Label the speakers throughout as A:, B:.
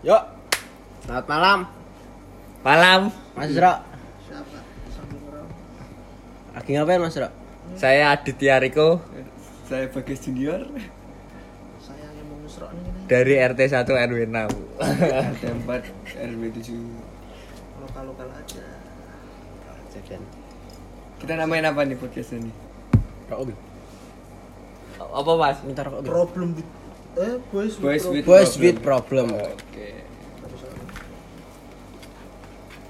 A: Yo. Selamat malam,
B: Malam,
A: Mas Ro. Lagi ngapain Mas Ro?
B: saya Aditya Riko
C: Saya Bagas Junior.
B: dari RT 1 RW 6.
C: Ada 4 RW 7.
A: Jajan.
C: Kita namain apa nih podcastnya nih?
A: Rok Obi.
B: Apa Mas?
A: Minta rok Obi.
D: problem with eh boys with
C: Boys
A: Boys with
C: with Problem.
A: problem.
C: Oke.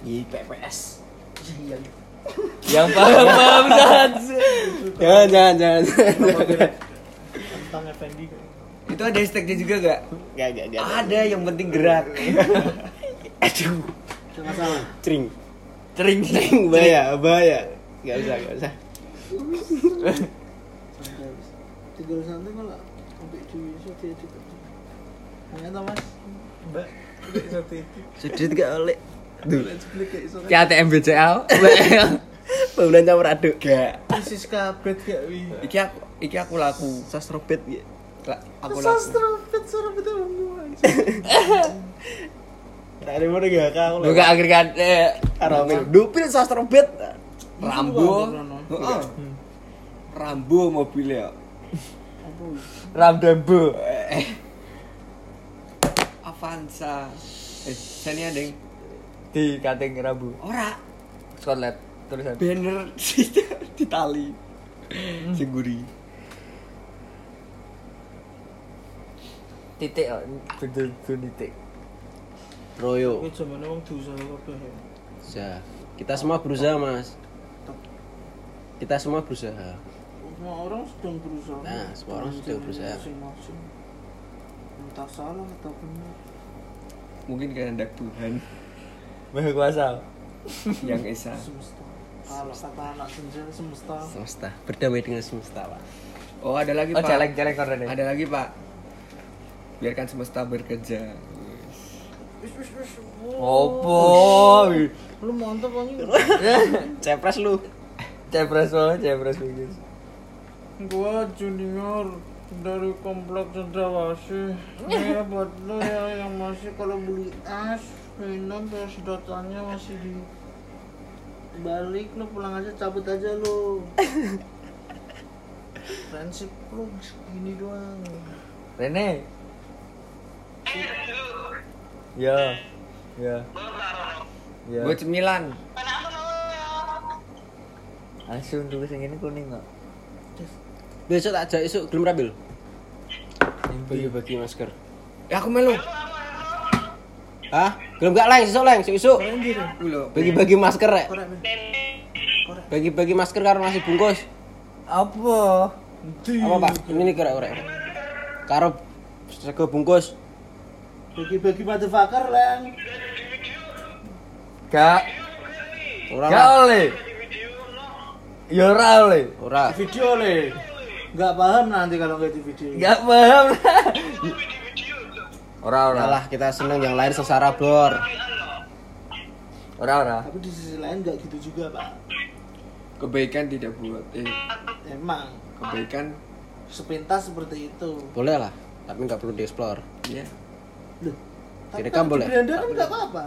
A: Di PPS.
D: problem.
B: Yang paham-paham dan
A: Jangan, jangan, jangan.
D: tentang Effendi
C: Itu ada hashtagnya juga gak?
A: Gak, gak, gak.
C: Ada yang penting gerak.
A: Aduh.
D: masalah
A: Cering. Cering, cering. Bahaya, bahaya. Gak usah, gak usah.
D: tidur santai malah sampai di sate itu ternyata mas mbak sate itu
A: Sudut gak oleh.
D: let's play kayak iso
A: Ya.
B: KTM BCL.
A: Pembulan campur aduk. Gak.
D: krisis kabret kayak wi
C: Iki aku, iki aku laku.
A: Sastrobet. ya.
C: La- aku laku.
D: sastra fit suara betul bunga
A: Tak ada mana gak kau.
B: Buka
C: kan?
B: agregat eh,
A: Karamel. Dupil sastrobet.
C: Rambo. Heeh. Rambo mobilnya.
B: Ramdambo.
C: Avanza. Eh, ini ada yang
B: Di kating Rambu.
C: ora
B: Scarlet tulisan.
C: banner di tali.
B: Hmm.
C: Seguri.
B: Titik oh, betul-betul titik.
A: Royo.
D: ini zaman emang dosa kabeh ya.
A: Ya, kita semua berusaha, Mas. Kita semua berusaha.
D: semua orang sedang berusaha
A: Nah, semua orang sedang berusaha.
D: Masing-masing. entah salah atau benar
C: Mungkin kehendak Tuhan
B: Maha kuasa.
C: yang esa.
D: semesta kalau kata anak senja semesta
A: Semesta, berdamai dengan semesta, Pak.
C: Oh, ada lagi,
B: Oh,
C: Pak.
B: celeng-celeng korene.
C: Ada lagi pak Biarkan semesta bekerja
D: Wis, wis, wis.
B: Opo?
D: lu mantap anjing
A: Cepres lu.
B: Cepres banget, cepres banget.
D: gua junior dari komplek Cendrawasih ya buat lo ya yang masih kalau beli es minum terus datanya masih di balik lo pulang aja cabut aja lo prinsip lo gini doang
B: Rene. Ya. Ya. Ya.
C: Gue cemilan
B: Langsung tulis yang ini kuning kok.
A: Besok tak ajak esuk gelem rabil. Bagi-bagi masker.
C: Ya aku melu
A: Hah? Gelem gak lain esuk lain esuk.
D: keren gitu
C: Ulo
A: Bagi-bagi masker rek.
D: korek men
A: Bagi-bagi masker karo nasi bungkus.
B: Apa?
A: Apa, Pak? Ini nih korek korek. Karo sego bungkus.
D: bagi-bagi motherfucker leng
B: Gak.
A: Ora.
B: Gak
A: Pak.
B: oleh. Ya ora oleh.
A: Ora.
D: video le nggak paham nanti kalau nggak di video
B: Gak paham. lah. Ora ora.
A: Malah kita seneng yang lain sengsara blor.
B: Ora ora.
D: tapi di sisi lain nggak gitu juga pak
C: Kebaikan tidak buat Eh
D: emang
C: kebaikan
D: sepintas seperti itu
A: Boleh lah, tapi nggak perlu dieksplor.
B: Iya,
C: Ya
D: Loh, tapi
A: Direkam
D: kalau
A: boleh?
D: Belanda kan nggak apa-apa.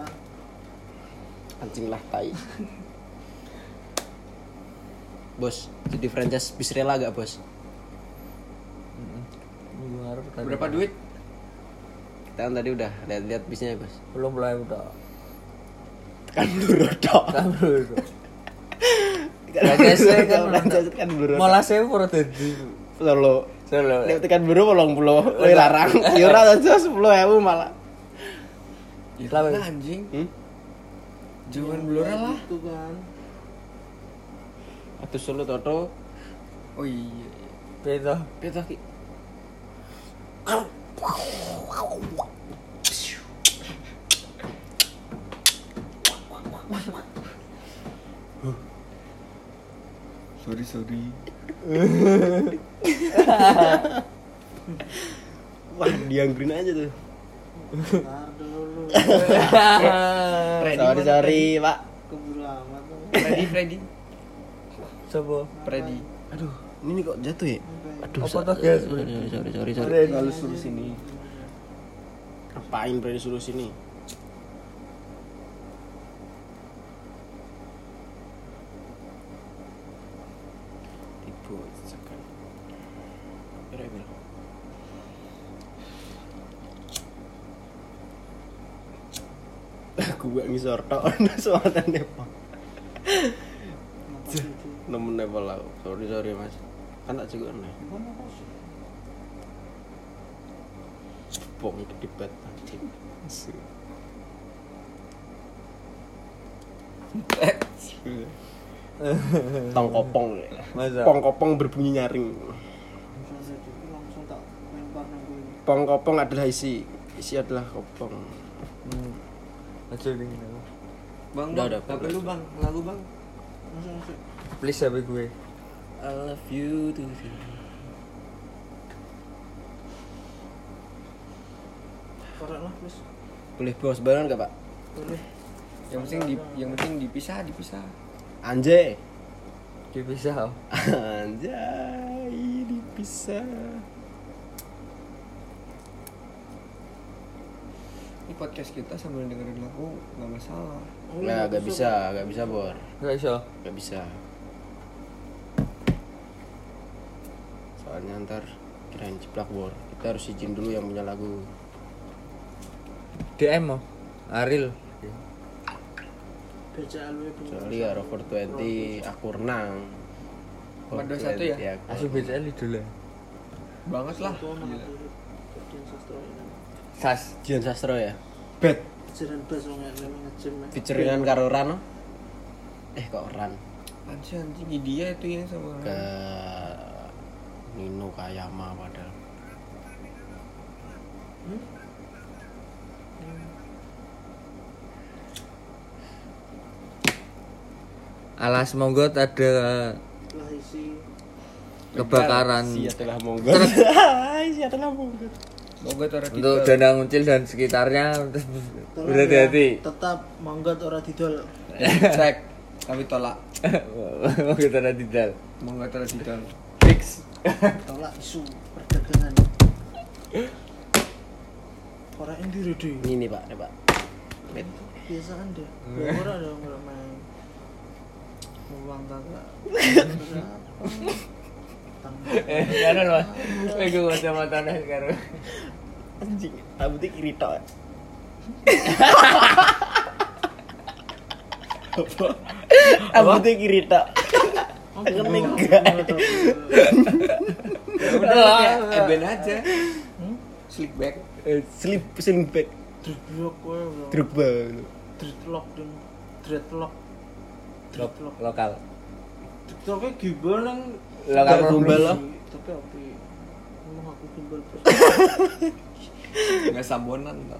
A: Anjing lah tai. Bos, jadi franchise bis rela gak bos?
B: Minggu ngarep tadi.
C: Berapa duit?
A: Kita kan tadi udah lihat-lihat bisnya bos.
B: Belum mulai udah.
A: Tekan dulu dok.
B: Kan belum.
A: Tekan
B: Franchise
A: dulu,
B: kan
A: dok. franchise tekan dulu.
B: Malah saya pura tadi.
A: solo.
B: Solo.
A: Nek tekan dulu bolong pulau. Wih larang. Ya ora aja sepuluh ewu malah.
C: Ya
B: Lah,
C: lah, anjing
A: Hmm?
C: Jangan blora lah
D: Itu kan.
A: Atau solo toto.
C: Oh iya
B: Beda.
A: Pito ki.
C: Sorry sorry
A: Wah dianggurin aja tuh.
D: Bentar dulu.
A: Sorry sorry pak.
D: Keburu amat. tuh.
C: Freddy Freddy
B: Coba.
C: Freddy
A: Aduh ini kok jatuh ya?
D: Sampai
A: Aduh
B: Apa
A: sa-
B: tuh, guys?
A: Sorry sorry sorry. sorry.
B: Sorry.
C: Lalu suruh sini
A: Apain berani suruh sini? Dibocakan. Kira Bil. Gue ngisor tok ono suatane, Pak. Nemen apa lah. Sorry sorry, Mas. Kan tak cukup nih. Bong itu debat anjing. Tong kopong.
B: Masa?
A: Pong kopong berbunyi nyaring.
D: langsung tak lempar nang gue ini.
A: Pong kopong adalah isi. Isi adalah kopong.
B: Hmm. Aja dingin aku.
C: Bang,
A: Udah,
C: bang,
A: udah,
C: HP
A: udah.
C: lu bang, lagu bang
D: Langsung, langsung.
B: Please HP gue.
A: I love you to the
D: Korek lah please.
A: Boleh bawa sembarangan gak pak?
D: Boleh.
C: Yang penting di, yang penting dipisah, dipisah
A: Anjay
B: Dia bisa.
A: Anjay Dipisah
C: Ini podcast kita sambil dengerin lagu, gak masalah
D: Oh, iya,
A: Nah gak bisa Gak bisa Bor
B: Enggak iso.
A: Gak bisa Soalnya ntar Kirain jeplak Bor Kita harus izin dulu yang punya lagu
B: DM mau. oh, Aril.
D: BCL gue punya.
A: Soalnya ya Rover 20 Aku renang Rover
C: 421 ya?
A: 20 aku-
B: Asu BCL idola.
C: Banget lah
D: Tua mana
C: Gila.
D: diri. Kerjaan sastra ini.
B: Sas.
A: Jian Sastro ya
B: Bet.
D: Jalan bas wong elek nge-gym, ya.
A: Featuringan karo Rano Eh kok Ran
C: Anjir, anjing dia itu yang sama
A: Ke Nino Kayama padahal
B: Alas monggot ada
D: Lah isi.
B: kebakaran
A: Sia telah monggo Sia telah monggo
C: Moga tuh orang
B: untuk dana uncil dan sekitarnya
D: Tolong
A: Iya.
D: ya,
B: berhati-hati.
D: Tetap manggat ora didol.
C: Cek Kami tolak
B: Mau kita nanti dal.
C: Moga tuh orang ditolak
B: Fix.
D: Tolak isu perdagangan. Korek diri deh.
A: Ini nih pak, nih pak. Met.
D: Biasaan deh. Ora dong ora main. Uang kakak.
B: Eh, kanan mas. Eh, gue kacamata nih sekarang.
A: Anjing, rambutnya kiri tok. eh. Rambutnya kiri tok. Ngening gak?
C: Ya Udah lah, kayak Eben aja Slick back
A: Eh, Slip, slip back,
D: Dreadlock kowe bro.
A: Drogba.
D: Dreadlock dong. Dreadlock. Dreadlock.
B: Lokal.
D: Dreadlocknya gimbal nang
B: Lokal
A: Gak gombal
B: provinsi.
A: lah.
D: tapi api. Ngomong aku gimbal. bos.
C: Gak sambonan tau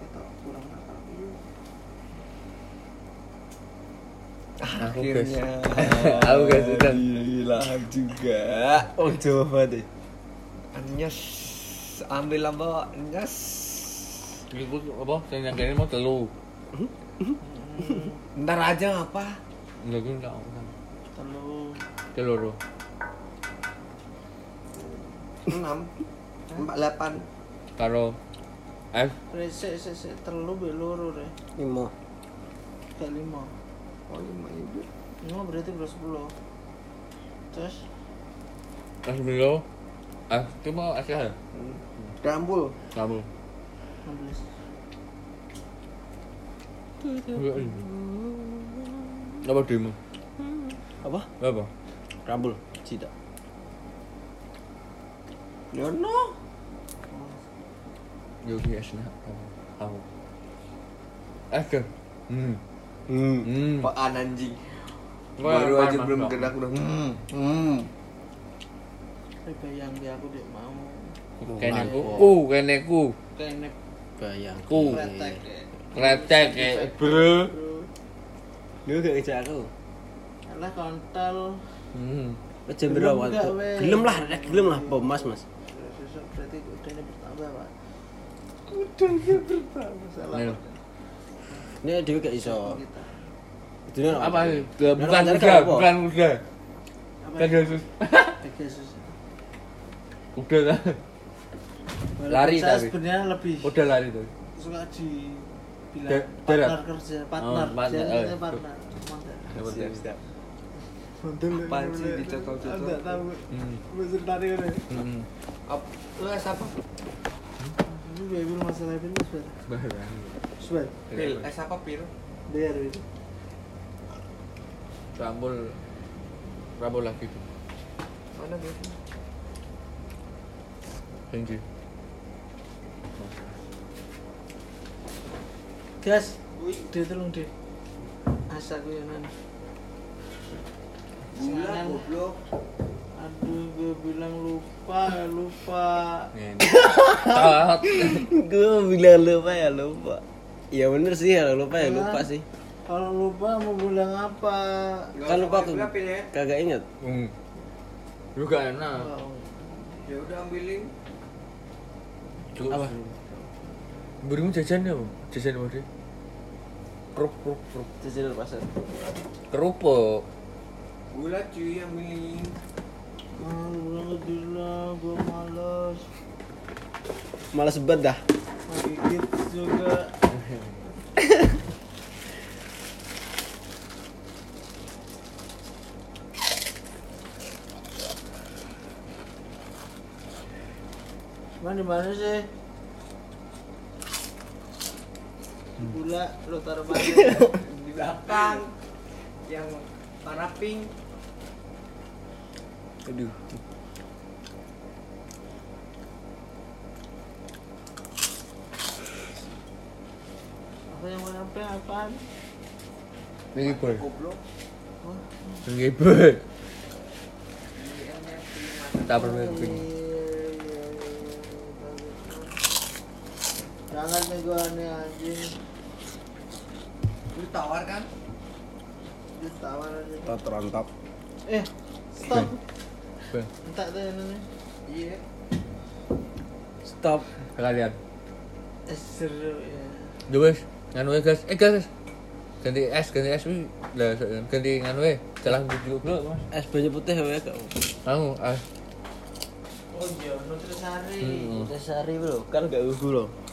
D: Kita kurang nakal.
B: Aku guys.
C: Akhirnya
B: Aku guys sudah.
C: Hilang juga
A: Oh coba deh.
C: Nyes Ambil apa? Nyes
B: Ikut apa? Saya nyangkain mau telu.
C: Ntar aja apa?
B: Enggak gue enggak aku kan.
D: Telu.
B: Telur.
C: 6 48
B: Karo F
D: Resik, sik, sik, telu be loro re.
A: Limo.
D: Gak lima.
C: Oh lima ibu
D: Lima berarti berapa sepuluh? Terus
B: F Milo. F itu mau F ya?
C: Rambul
B: Kamu.
D: enam belas.
B: Apa demo?
A: Apa?
B: Apa?
A: Rambul. Cita.
C: Yono
B: Yogi Esna. Kamu. F ke? Hmm.
A: Hmm.
B: Hmm.
C: Apaan anjing
B: Wah,
C: Baru
B: apaan,
C: aja
B: Mas,
C: belum
B: Bang?
C: gerak udah Hmm Hmm
D: Eh, bayang dia aku dek mau.
B: Keneku. Ku, keneku.
D: Kayak
A: Bayang.
B: Ku.
D: kretek deh.
B: Kretek kayak bro.
D: Bro.
A: Lu gak kerja aku.
D: Alah kontol.
B: Hmm.
A: Lu jam berapa?
D: Gelem gak, weh?
A: Gelem lah, rek gelem lah, bom mas mas.
D: Besok berarti udahnya bertambah pak. Udahnya bertambah. Salah.
B: Nih.
A: Ini dia gak
B: Oh.
A: iso.
D: Kita.
A: Itu dia
B: Apa?
A: orang-
B: Bukan Kan
A: Orang
B: kuda,
A: apa?
B: bukan kuda.
D: Apa?
B: Pegasus.
D: Pegasus.
B: Udah lah.
D: Walaupun
B: Lari
D: saya
B: tapi.
D: sebenarnya lebih
B: Udah lari tuh.
D: suka di bilang
B: Da- darat.
D: partner kerja partner
B: partner,
D: Jadi kita
B: oh.
D: partner Mantap.
B: Siap, siap.
C: Apaan sih dicocok-cocok?
D: Enggak ya, tahu.
B: Hmm.
D: Gue tertarik ya, udah.
B: Hmm.
C: Ap- Lu es apa?
D: Ini gue bilang masalah itu sudah.
B: Barang.
D: Sudah.
C: Pil, es apa pil?
D: Biar itu.
B: Rambul. Rambul lagi.
C: Mana gue?
B: Thank you.
D: Gas. Dia tolong deh. Asa gue yang nanya.
C: Gula
D: Senganan.
C: goblok.
D: Aduh, gue bilang lupa, lupa.
B: Ini. Tot.
A: gue bilang lupa ya lupa ya bener sih ya lupa ya lupa sih
D: Kalau lupa mau bilang apa?
C: Nggak
A: kan
C: usah
A: lupa aku
C: ambil pil ya.
A: kagak inget
B: Hmm. Lu gak enak.
D: Kalau-
C: Ya udah ambilin.
B: Cukup lah. Berimu jajan ya, Bang? Jajan apa deh? Keruk, keruk, keruk.
A: jajan di pasar
B: Kerupuk.
C: Gula cuy ambilin.
D: Ah, lu bilang ke Dila, gue males.
A: malas banget dah
D: Mau gigit juga. Cuman di mana sih? Gula lo taruh mana?
C: Di belakang. Yang warna pink.
A: aduh
D: Apa yang mau nyampe apaan?
B: Ini boy.
C: Goblok.
D: Wah,
B: Ini boy.
C: Ini emang pink
B: Tak
D: iya,
B: perlu
D: iya,
B: pink.
D: iya, iya, iya. Jangan nih gue aneh anjing
C: mata. Lu tawar kan?
D: Dia tawar aja
A: tot rontop
D: Eh, stop.
B: Bang,
D: Entak tuh yang namanya.
C: Iya.
A: stop
B: kalian.
D: Eh, seru ya.
B: Yo wes, nganu ae, guys. Eh guys. Ganti es, ganti es wih. Lah, so- ganti nganu eh. ae. Celah bujuk dulu,
A: es
B: Mas.
A: banyu putih ya kak
B: Anu, ah.
D: Oh iya, Nutrisari.
B: Hmm.
A: sehari bro kan gak gugu loh